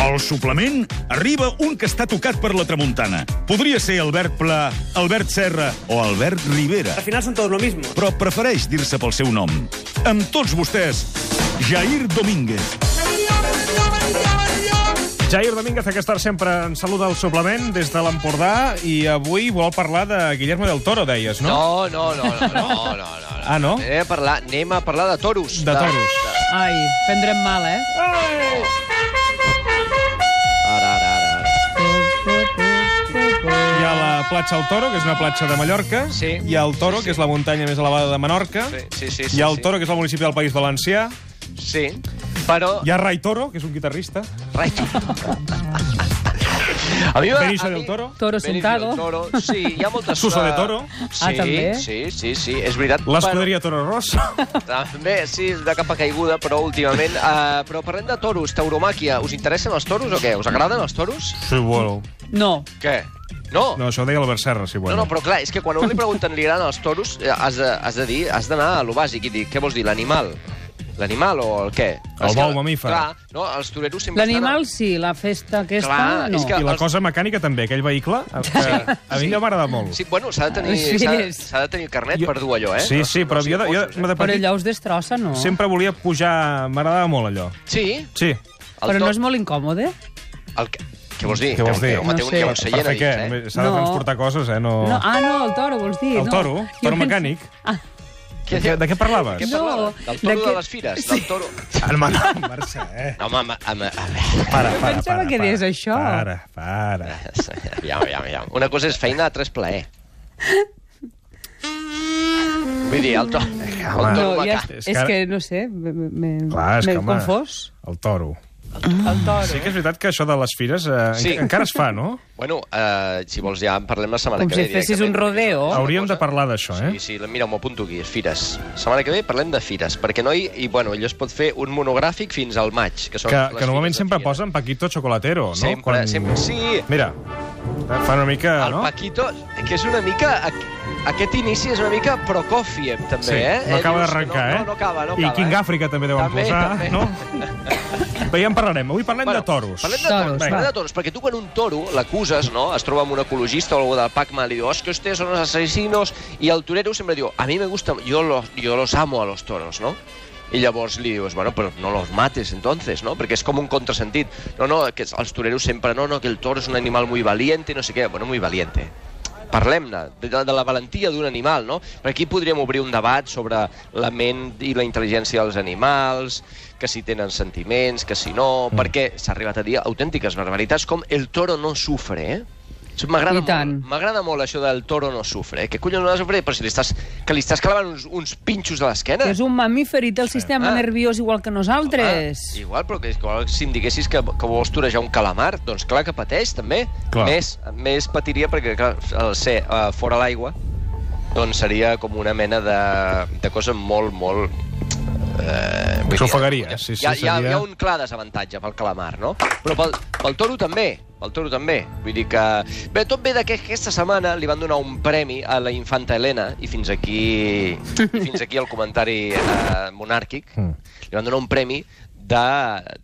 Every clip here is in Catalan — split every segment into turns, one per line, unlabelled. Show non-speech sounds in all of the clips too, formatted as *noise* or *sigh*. Al suplement arriba un que està tocat per la tramuntana. Podria ser Albert Pla, Albert Serra o Albert Rivera,
Al final son todos lo mismo.
però prefereix dir-se pel seu nom. Amb tots vostès, Jair Domínguez.
Jair Domínguez, aquest estar sempre ens saluda al suplement des de l'Empordà i avui vol parlar de Guillermo del Toro, deies, no?
No, no, no, no, no, no, no.
Ah, no?
Anem a parlar, anem a parlar de toros.
De toros.
Ai, prendrem mal, eh?
Ara, ara, ara, ara.
Hi ha la platja El Toro, que és una platja de Mallorca.
Sí.
Hi ha el Toro,
Sí, sí.
que és la muntanya més elevada de Menorca.
Sí, sí, sí, sí,
Hi ha el
sí.
Toro, que és el municipi del País Valencià.
Sí, però...
Hi ha Ray Toro, que és un guitarrista.
Rai. A mi
Benicio del Toro.
Toro
Benicio
Suncado.
del Toro. Sí, hi ha moltes... eh,
Suso de Toro.
Sí,
Ah, també?
sí, sí, sí, és veritat.
L'escuderia Toro Rosso.
Però, també, sí, és de capa caiguda, però últimament... Uh, però parlem de toros, tauromàquia. Us interessen els toros o què? Us agraden els toros?
Si vol.
No.
Què? No?
No, això ho deia Albert Serra, si vol.
No, no, però clar, és que quan a un li pregunten li agraden els toros, eh, has de, has de dir, has d'anar a lo bàsic i dir, què vols dir, l'animal? L'animal o el què?
El
És que-
bou mamífer.
Clar, no, els toreros sempre
L'animal sí, la festa aquesta
Clar,
no.
és que-
I la cosa mecànica també, aquell vehicle, que a mi
sí.
allò m'agrada molt.
Sí, bueno, s'ha de, tenir,
Sí,
s'ha
és.
s'ha de tenir el carnet
Jo-
per dur allò, eh?
Sí, sí, però
s'hi
jo, de- jo
fotos,
de
eh?
Però
petit
allò us destrossa, no?
sempre volia pujar... M'agradava molt allò.
eh? Sí,
Sí.
el
Però no
to-
és molt incòmode?
El... que- Què vols dir?
Què vols
Que-
dir?
Que, home,
No
té un,
sé.
hi ha un
per
seient a
fer què?
dins, eh?
S'ha de
No.
transportar coses, eh? No...
No. Ah, no, el toro, vols dir.
El
no.
toro?
Jo
Toro
penso-
mecànic?
Ah,
De, què, de què
De Què
parlaves?
No,
parlava? Del toro
d'aquest-
de les fires, del toro...
Hermano, Mercè, eh?
No, home, home, home, a veure...
Para, para,
pensava
para,
que deies
para.
això.
Para, para.
Aviam, aviam, aviam. Una cosa és feina, altra és plaer. Vull dir, el to... El
no,
toro no,
ja,
ja...
És
és,
que
és
ara-
que no sé, m- m-
Clar, és
m'he
que, home...
confós.
El toro.
El toro. eh?
Sí que és veritat que això de les fires eh,
Sí.
sí. encara es fa,
*laughs*
no?
Bueno, eh, si vols ja en parlem la setmana
Com
que
si
ve.
fessis un
directament,
rodeo.
perquè és una
Hauríem
cosa-
de parlar d'això, eh?
Sí, sí, la- mira, m'ho apunto aquí, fires. Setmana que ve parlem de fires, perquè no hi... I, bueno, allò es pot fer un monogràfic fins al maig, que són
Que,
les
que normalment
fires de
sempre
fira.
posen Paquito Chocolatero, no?
Sempre, sempre, sí.
Mira, fa una mica,
El
Ah, no?
Paquito, que és una mica... aqu- Aquest inici és una mica Prokofiev, també,
Sí,
eh?
no
Eh,
acaba
dius,
d'arrencar,
no,
eh?
No, no acaba, no
I
acaba.
King
eh?
Africa també deuen
També,
posar,
també.
no?
*laughs*
Bé, ja en parlarem. Avui parlem de toros.
Parlem de
Toros,
toros,
va.
parlem de toros, perquè tu quan un toro l'acuses, no?, es troba amb un ecologista o algú del PACMA, li diu, es que ustedes son los asesinos, i el torero sempre diu, a mi me gusta, yo los, yo los amo a los toros, no? I llavors li dius, bueno, però no los mates, entonces, no? Perquè és com un contrasentit. No, no, que els toreros sempre, no, no, que el toro és un animal muy valiente, no sé què. Bueno, muy valiente. Parlem-ne, de, de la valentia d'un animal, no? Per aquí podríem obrir un debat sobre la ment i la intel·ligència dels animals, que si tenen sentiments, que si no,
Mm.
perquè s'ha arribat a dir autèntiques barbaritats com el toro no sufre, eh? Això M'agrada
I tant.
molt, m'agrada molt això del toro no sufre. Eh? Que collons no ha de sufrir? Però si li estàs, que li estàs clavant uns, uns pinxos a l'esquena.
Que és un mamífer i té el sistema
Ah.
nerviós igual que nosaltres.
Home, igual, però que, que si em diguessis que, que vols torejar un calamar, doncs clar que pateix, també.
Clar.
Més, més patiria perquè, clar, el ser uh, fora l'aigua doncs seria com una mena de, de cosa molt, molt... Eh, vull dir,
S'ofegaria, sí, sí,
hi, ha, hi, ha,
seria-
hi ha un clar desavantatge pel calamar, no? Però pel, pel toro també, pel toro també. Vull dir que... Bé, tot ve de que aquesta setmana li van donar un premi a la infanta Helena i fins aquí, i fins aquí el comentari eh, monàrquic.
Mm.
Li van donar un premi de,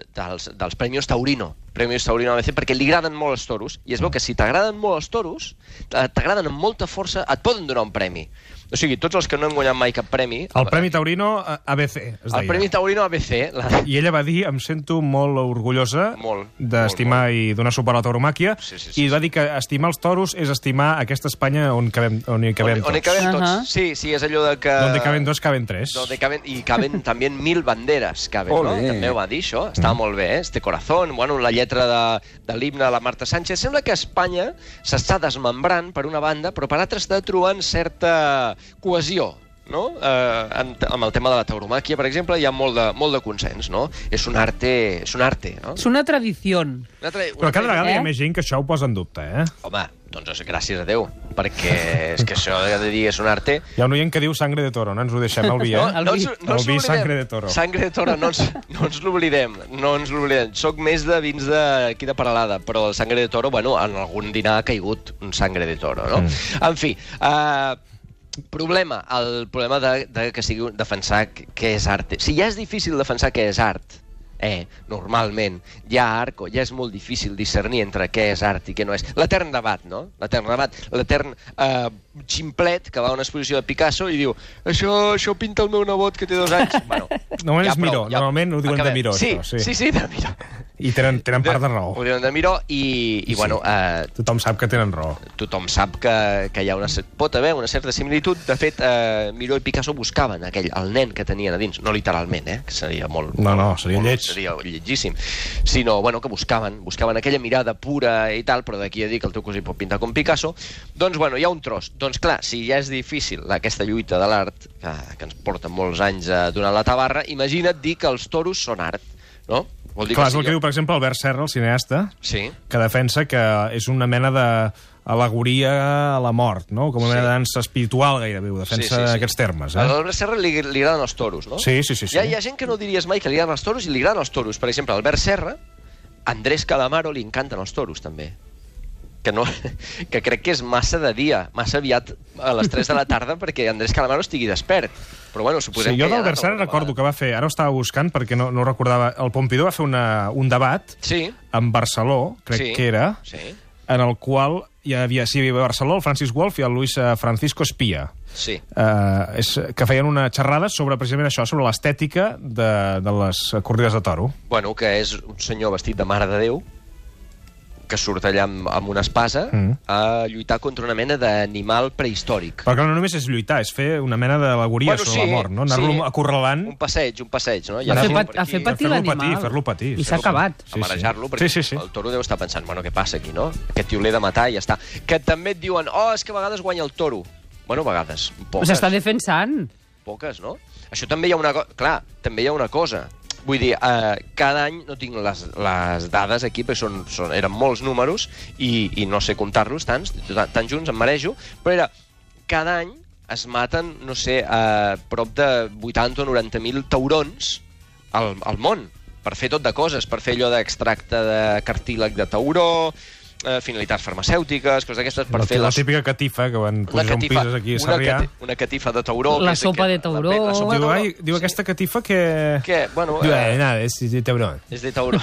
de, dels, dels Premios Taurino. Premios Taurino ABC, perquè li agraden molt els toros. I es veu que si t'agraden molt els toros, eh, t'agraden amb molta força, et poden donar un premi. O sigui, tots els que no hem guanyat mai cap premi...
El Premi Taurino eh, ABC, es deia.
el Premi Taurino ABC... La...
I ella va dir, em sento molt orgullosa
Molt,
d'estimar i donar suport a la tauromàquia,
Sí, sí, sí,
i va dir que estimar els toros és estimar aquesta Espanya on, cabem, on hi cabem
on, on hi
tots.
cabem tots.
Ahà.
Sí, sí, és allò de que...
Donde caben dos, caben tres.
Donde caben, I caben també mil banderes, caben, no?
Olé.
També ho va dir, això.
Mm.
Estava molt bé, eh? Este corazón, bueno, la lletra de, de l'himne de la Marta Sánchez. Sembla que Espanya s'està desmembrant, per una banda, però per altra està trobant certa cohesió, no? Eh, en, amb el tema de la tauromàquia, per exemple, hi ha molt de, molt de consens, no? És un arte, és un arte, no?
És una tradició.
Una altra- una
Però cada
altra-
vegada hi
Eh?
ha més gent que això ho posa en dubte, eh?
Home, doncs gràcies a Déu, perquè és que això de dir és un arte...
Hi ha un oient que diu sangre de toro, no ens ho deixem al
*laughs*
vi, eh?
No, no,
El vi.
ens- no ens
El vi,
l'oblidem.
sangre de toro.
Sangre de toro, no ens, no ens l'oblidem. No ens l'oblidem. Soc més de vins de aquí de Paralada, però el sangre de toro, bueno, en algun dinar ha caigut un sangre de toro, no? En fi, eh, problema, el problema de, de que sigui un- defensar què és art. Si ja és difícil defensar què és art, Eh, normalment. Ja a Arco ja és molt difícil discernir entre què és art i què no és. L'etern debat, no? L'etern debat, l'etern eh, ximplet que va a una exposició de Picasso i diu això, això pinta el meu nebot que té dos anys. bueno,
Normalment és Miró, normalment ho diuen de
Acabem.
Miró,
Sí,
això, sí.
sí, sí, sí de Miró.
I tenen, tenen part de raó.
Ho diuen de Miró i,
Sí.
i bueno, eh,
Tothom sap que tenen raó.
tothom sap que, que hi ha una, cer- pot haver una certa similitud. De fet, eh, Miró i Picasso buscaven aquell, el nen que tenien a dins, no literalment, eh, que seria molt...
No, no, seria
molt-
lleig.
Seria lletgíssim. Sinó, bueno, que buscaven, buscaven aquella mirada pura i tal, però d'aquí a dir que el teu cosí pot pintar com Picasso, doncs, bueno, hi ha un tros. Doncs, clar, si ja és difícil aquesta lluita de l'art, que, que ens porta molts anys a donar la tabarra, imagina't dir que els toros són art, no? Vol dir
Clar, és el
si
que
jo-
diu, per exemple, Albert Serra, el cineasta,
Sí,
que defensa que és una mena de al·legoria a la mort, no? Com una
Sí.
mena de dansa espiritual gairebé, ho defensa sí, sí, sí. aquests termes.
A
Eh?
l'Albert Serra li, li agraden els toros, no?
Sí, sí, sí, sí.
Hi ha, hi ha gent que no diries mai que li agraden els toros i li agraden els toros. Per exemple, a Albert Serra, a Andrés Calamaro li encanten els toros, també. Que, no, *laughs* que crec que és massa de dia, massa aviat a les 3 de la tarda perquè Andrés Calamaro estigui despert. Però bueno,
Sí,
suposem
jo
que hi ha
d'Albert Serra
alguna
recordo
vegada.
que va fer... Ara ho estava buscant perquè no, no ho recordava. El Pompidou va fer una, un debat
Sí,
en Barceló, crec
Sí.
que era,
sí,
en el qual hi havia, sí, hi havia Barceló, el Francis Wolf i el Luis eh, Francisco Espia.
sí.
eh, és, que feien una xerrada sobre precisament això, sobre l'estètica de, de les corrides de toro.
Bueno, que és un senyor vestit de mare de Déu que surt allà amb, amb una espasa
Mm.
a lluitar contra una mena d'animal prehistòric.
Perquè no només és lluitar, és fer una mena d'alegoria sobre la mort, no? Anar-lo acorralant...
Un passeig, un passeig, no? I
A fer,
anar-lo
pat,
per
a
aquí,
fer patir
Fer-lo
l'animal.
patir, fer-lo patir,
I s'ha
fer-lo
acabat.
patir.
a marejar-lo, perquè
Sí, sí, sí.
el toro deu estar pensant, bueno, què passa aquí, no? Aquest tio l'he de matar i ja està. Que també et diuen, oh, és que a vegades guanya el toro. Bueno, a vegades, eh? poques,
S'està defensant.
poques, no? Això també hi ha una cosa... Clar, també hi ha una cosa. Vull dir, eh, cada any no tinc les, les dades aquí, perquè són, són, eren molts números i, i no sé comptar-los tants, tan junts em marejo, però era cada any es maten, no sé, eh, prop de 80 o 90.000 taurons al, al món, per fer tot de coses, per fer allò d'extracte de cartílag de tauró, eh, finalitats farmacèutiques, coses d'aquestes, per
la,
fer
la
les
típica catifa que van posar un pis aquí a
una,
Sarrià.
cati- una catifa de tauró.
La
que és
sopa de
aquella-
tauró.
la- la sopa de
Diu,
tauró.
ai, diu
Sí.
aquesta catifa que...
Que, bueno,
Diu,
eh,
eh, nada, es de Taurón.
és de tauró.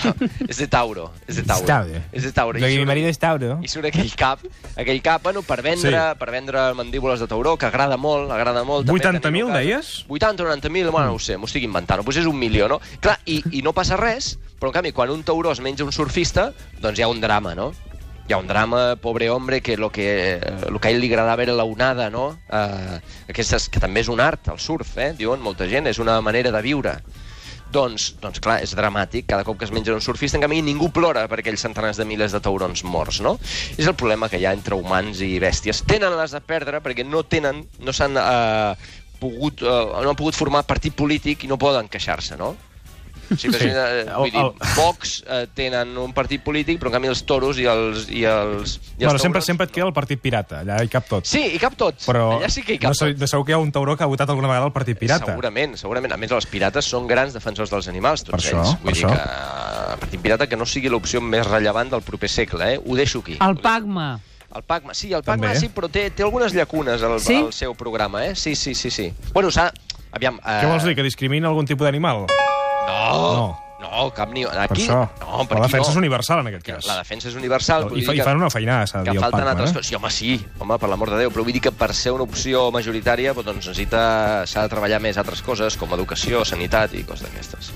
és de tauro. És de tauro.
Tauro.
És de tauro.
Lo que
I
mi
surt-
marido es Tauro.
i surt aquell cap, aquell cap, bueno, per
Sí.
vendre, sí. per vendre mandíbules de tauró, que agrada molt, agrada molt. també
80.000
tenim un cas-
deies?
80 o 90.000, bueno, no ho sé, m'ho estic inventant, potser és un milió, no? Clar, i, i no passa res, però en canvi, quan un tauró es menja un surfista, doncs hi ha un drama, no? Hi ha un drama, pobre hombre, que lo que, eh, lo que a ell li agradava era la onada, no? Eh, aquestes, que també és un art, el surf, eh? Diuen molta gent, és una manera de viure. Doncs, doncs clar, és dramàtic, cada cop que es menja un surfista, en canvi ningú plora per aquells centenars de milers de taurons morts, no? És el problema que hi ha entre humans i bèsties. Tenen les de perdre perquè no tenen, no s'han eh, pogut, eh, no han pogut formar partit polític i no poden queixar-se, no? O sigui,
Sí.
sí. eh, vull dir,
El- el-
Vox eh, tenen un partit polític, però en canvi els toros i els... I els, i els
Bueno, sempre,
taurons
sempre et
no.
queda el partit pirata, allà hi cap tot.
Sí, hi cap tot.
Però
Allà sí que hi
no
cap
sé,
tot.
de segur que hi ha un tauró que ha votat alguna vegada el partit pirata.
Segurament, segurament. A més, els pirates són grans defensors dels animals, tots
Per això,
ells.
per
Vull dir
això.
que el partit pirata que no sigui l'opció més rellevant del proper segle, eh? Ho deixo aquí.
El Pagma.
El Pacma, sí, el
També.
Pacma sí, però té, té algunes llacunes al,
Sí?
al seu programa, eh? Sí, sí, sí, sí. Bueno, s'ha... Aviam... Eh...
Què vols dir, que discrimina algun tipus d'animal?
No, no, cap ni...
Per
Aquí...
això.
No, per
la
aquí
defensa
no.
és universal, en aquest cas.
La defensa és universal. vull
I, fa,
dir
I fan una feinada, s'ha de
que
dir, el
falten
Pacma.
altres
Eh?
coses. Sí, home, sí, home, per l'amor de Déu, però vull dir que per ser una opció majoritària doncs, necessita s'ha de treballar més altres coses, com educació, sanitat i coses d'aquestes.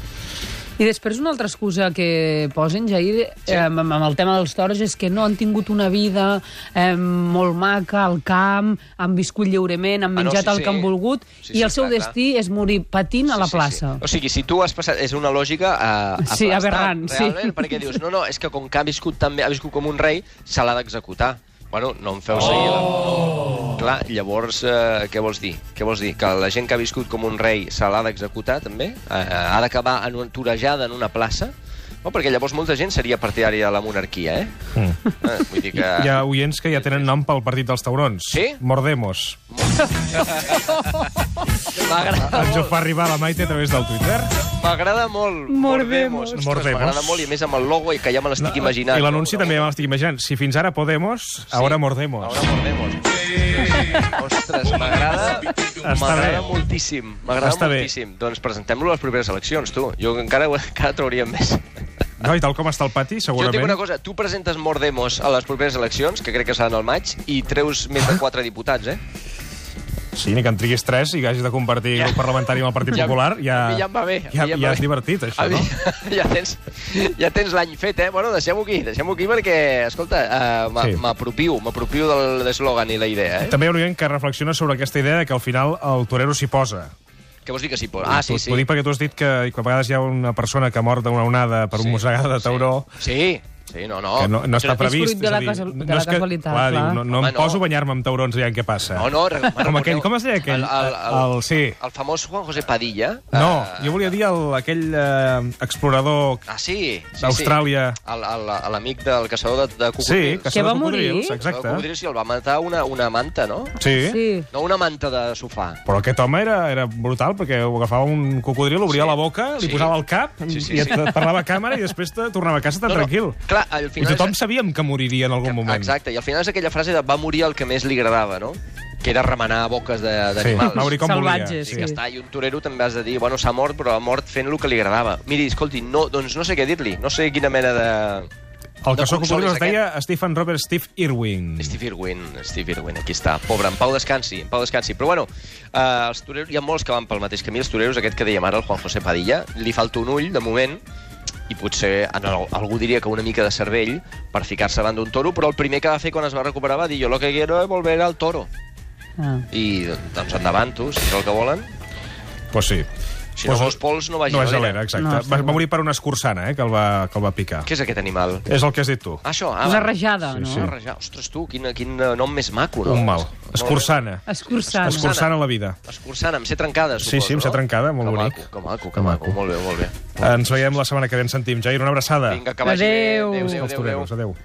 I després una altra excusa que posen, Jair,
Sí.
eh, amb, amb el tema dels toros, és que no han tingut una vida eh, molt maca al camp, han viscut lliurement, han
Ah, no,
menjat
sí,
el
sí.
que han volgut,
Sí,
i
sí,
el seu
clar, clar.
destí és morir patint a la plaça.
Sí, sí. O sigui, si tu has passat... És una lògica eh,
Sí,
aplastant,
aberrant, sí.
realment, perquè dius, no, no, és que com que ha viscut, també, ha viscut com un rei, se l'ha d'executar. Bueno, no em feu seguir la...
Oh!
Clar, llavors, eh, què vols dir? Què vols dir? Que la gent que ha viscut com un rei se l'ha d'executar, també? Eh, ha d'acabar aturejada en una plaça? No, perquè llavors molta gent seria partidària de la monarquia, eh?
Mm.
eh vull dir que...
Hi ha oients que ja tenen nom pel partit dels taurons.
Sí?
Mordemos.
M'agrada
Ens ho
molt.
fa arribar la Maite a través del Twitter.
M'agrada molt.
Mordemos.
Ostres,
Mordemos.
M'agrada molt, i a més amb el logo i que ja me l'estic imaginant.
I l'anunci també me l'estic imaginant. Si fins ara Podemos, sí. ara Mordemos.
Ahora mordemos. Ostres, m'agrada... M'agrada
bé.
moltíssim. M'agrada
Està bé.
moltíssim. Doncs presentem-lo a les properes eleccions, tu. Jo encara, encara trauria més.
Noi, tal com està el pati,
Jo
segurament...
tinc una cosa. Tu presentes Mordemos a les properes eleccions, que crec que seran al maig, i treus més de quatre diputats, eh?
Sí, ni que en triguis tres i que hagis de compartir ja.
Ja.
grup parlamentari amb el Partit Popular, ja,
a mi ja em va bé. a mi
ja,
em va
ja
bé.
és divertit,
A
això,
mi,
no?
*laughs* ja tens, ja tens l'any fet, eh? Bueno, deixem-ho aquí, deixem-ho aquí perquè, escolta, eh, m'a-
Sí.
m'apropio, m'apropio del de l'eslògan i la idea, eh?
També hi ha un oient que reflexiona sobre aquesta idea de que al final el torero s'hi posa.
Què vols dir que sí? Pol? Ah, sí, sí.
T'ho dic perquè tu has dit que, que a vegades hi ha una persona que mor d'una onada per sí.
Sí,
un mossegada de tauró
Sí, sí, no, Oh, no.
que no, no està
Però és fruit
previst.
de la
és a dir,
casual-
no
de la
és que-
casualitat,
clar,
clar.
Diu, no, no
Home,
em
no.
poso a banyar-me amb taurons i què passa.
No,
*laughs*
no, re-
Ah. Com aquell, com es deia aquell?
El, el, el,
El- sí.
el famós Juan José Padilla.
No,
Eh,
jo volia dir el, aquell eh, explorador
Ah, sí, sí,
d'Austràlia.
Sí. El- el- L'amic del caçador de, de
Sí,
cocodrils.
que
Que va
de cocodrils,
morir?
El
exacte.
cocodrils sí, el va matar una, una manta, no?
Sí. sí.
Sí.
No una manta de sofà.
Però aquest home era, era brutal, perquè ho agafava un cocodril, obria
Sí.
la boca, li
Sí.
posava el cap,
Sí, sí,
i et
sí.
parlava a càmera, i després te tornava a casa tan
No, no,
tranquil.
clar, al final
I tothom
és-
sabíem que moriria en algun moment.
Exacte, i al final és aquella frase de va morir el que més li agradava, no? Que era remenar boques de-
Sí,
d'animals.
va morir com volia.
Salvatges,
Sí. Que
sí.
està, I un torero també has de dir, bueno, s'ha mort, però ha mort fent el que li agradava. Miri, escolti, no, doncs no sé què dir-li, no sé quina mena
El
de... de
caçó
consol
cocodril
és
es deia Stephen Robert Steve Irwin.
Steve Irwin, Steve Irwin, aquí està. Pobre, en pau descansi, en pau descansi. Però bueno, eh, els toreros, hi ha molts que van pel mateix camí. Els toreros, aquest que dèiem ara, el Juan José Padilla, li falta un ull, de moment, i potser en el, algú diria que una mica de cervell per ficar-se davant d'un toro, però el primer que va fer quan es va recuperar va dir jo lo que quiero es volver al toro.
Ah.
I doncs endavant, tu, si és el que volen.
Pues sí.
Si no
Pues-
vols pols, no vagis
no
a
és
l'era.
l'era, exacte.
No,
No,
està
va,
bé.
va morir per una escurçana, eh, que el va, que el va picar.
Què és aquest animal?
És el que has dit tu.
Ah, això, ah,
Una rajada,
Sí,
no?
sí.
Una rajada. Ostres, tu, quin, quin eh, nom més maco, no?
Un mal.
Molt bé.
Escurçana.
Escurçant.
Escurçant.
Escurçana la vida.
Escurçant, amb ser trencada,
Sí,
suposo,
sí, amb ser
no?
trencada, molt
que
bonic.
Maco, que maco,
Que
que maco.
maco.
Molt bé, molt bé.
Ens veiem la setmana que ve en sentim. Jair, una abraçada.
Vinga, que vagi bé.
Adéu.
Adéu, adéu,
Els
adéu.
toreros, adéu.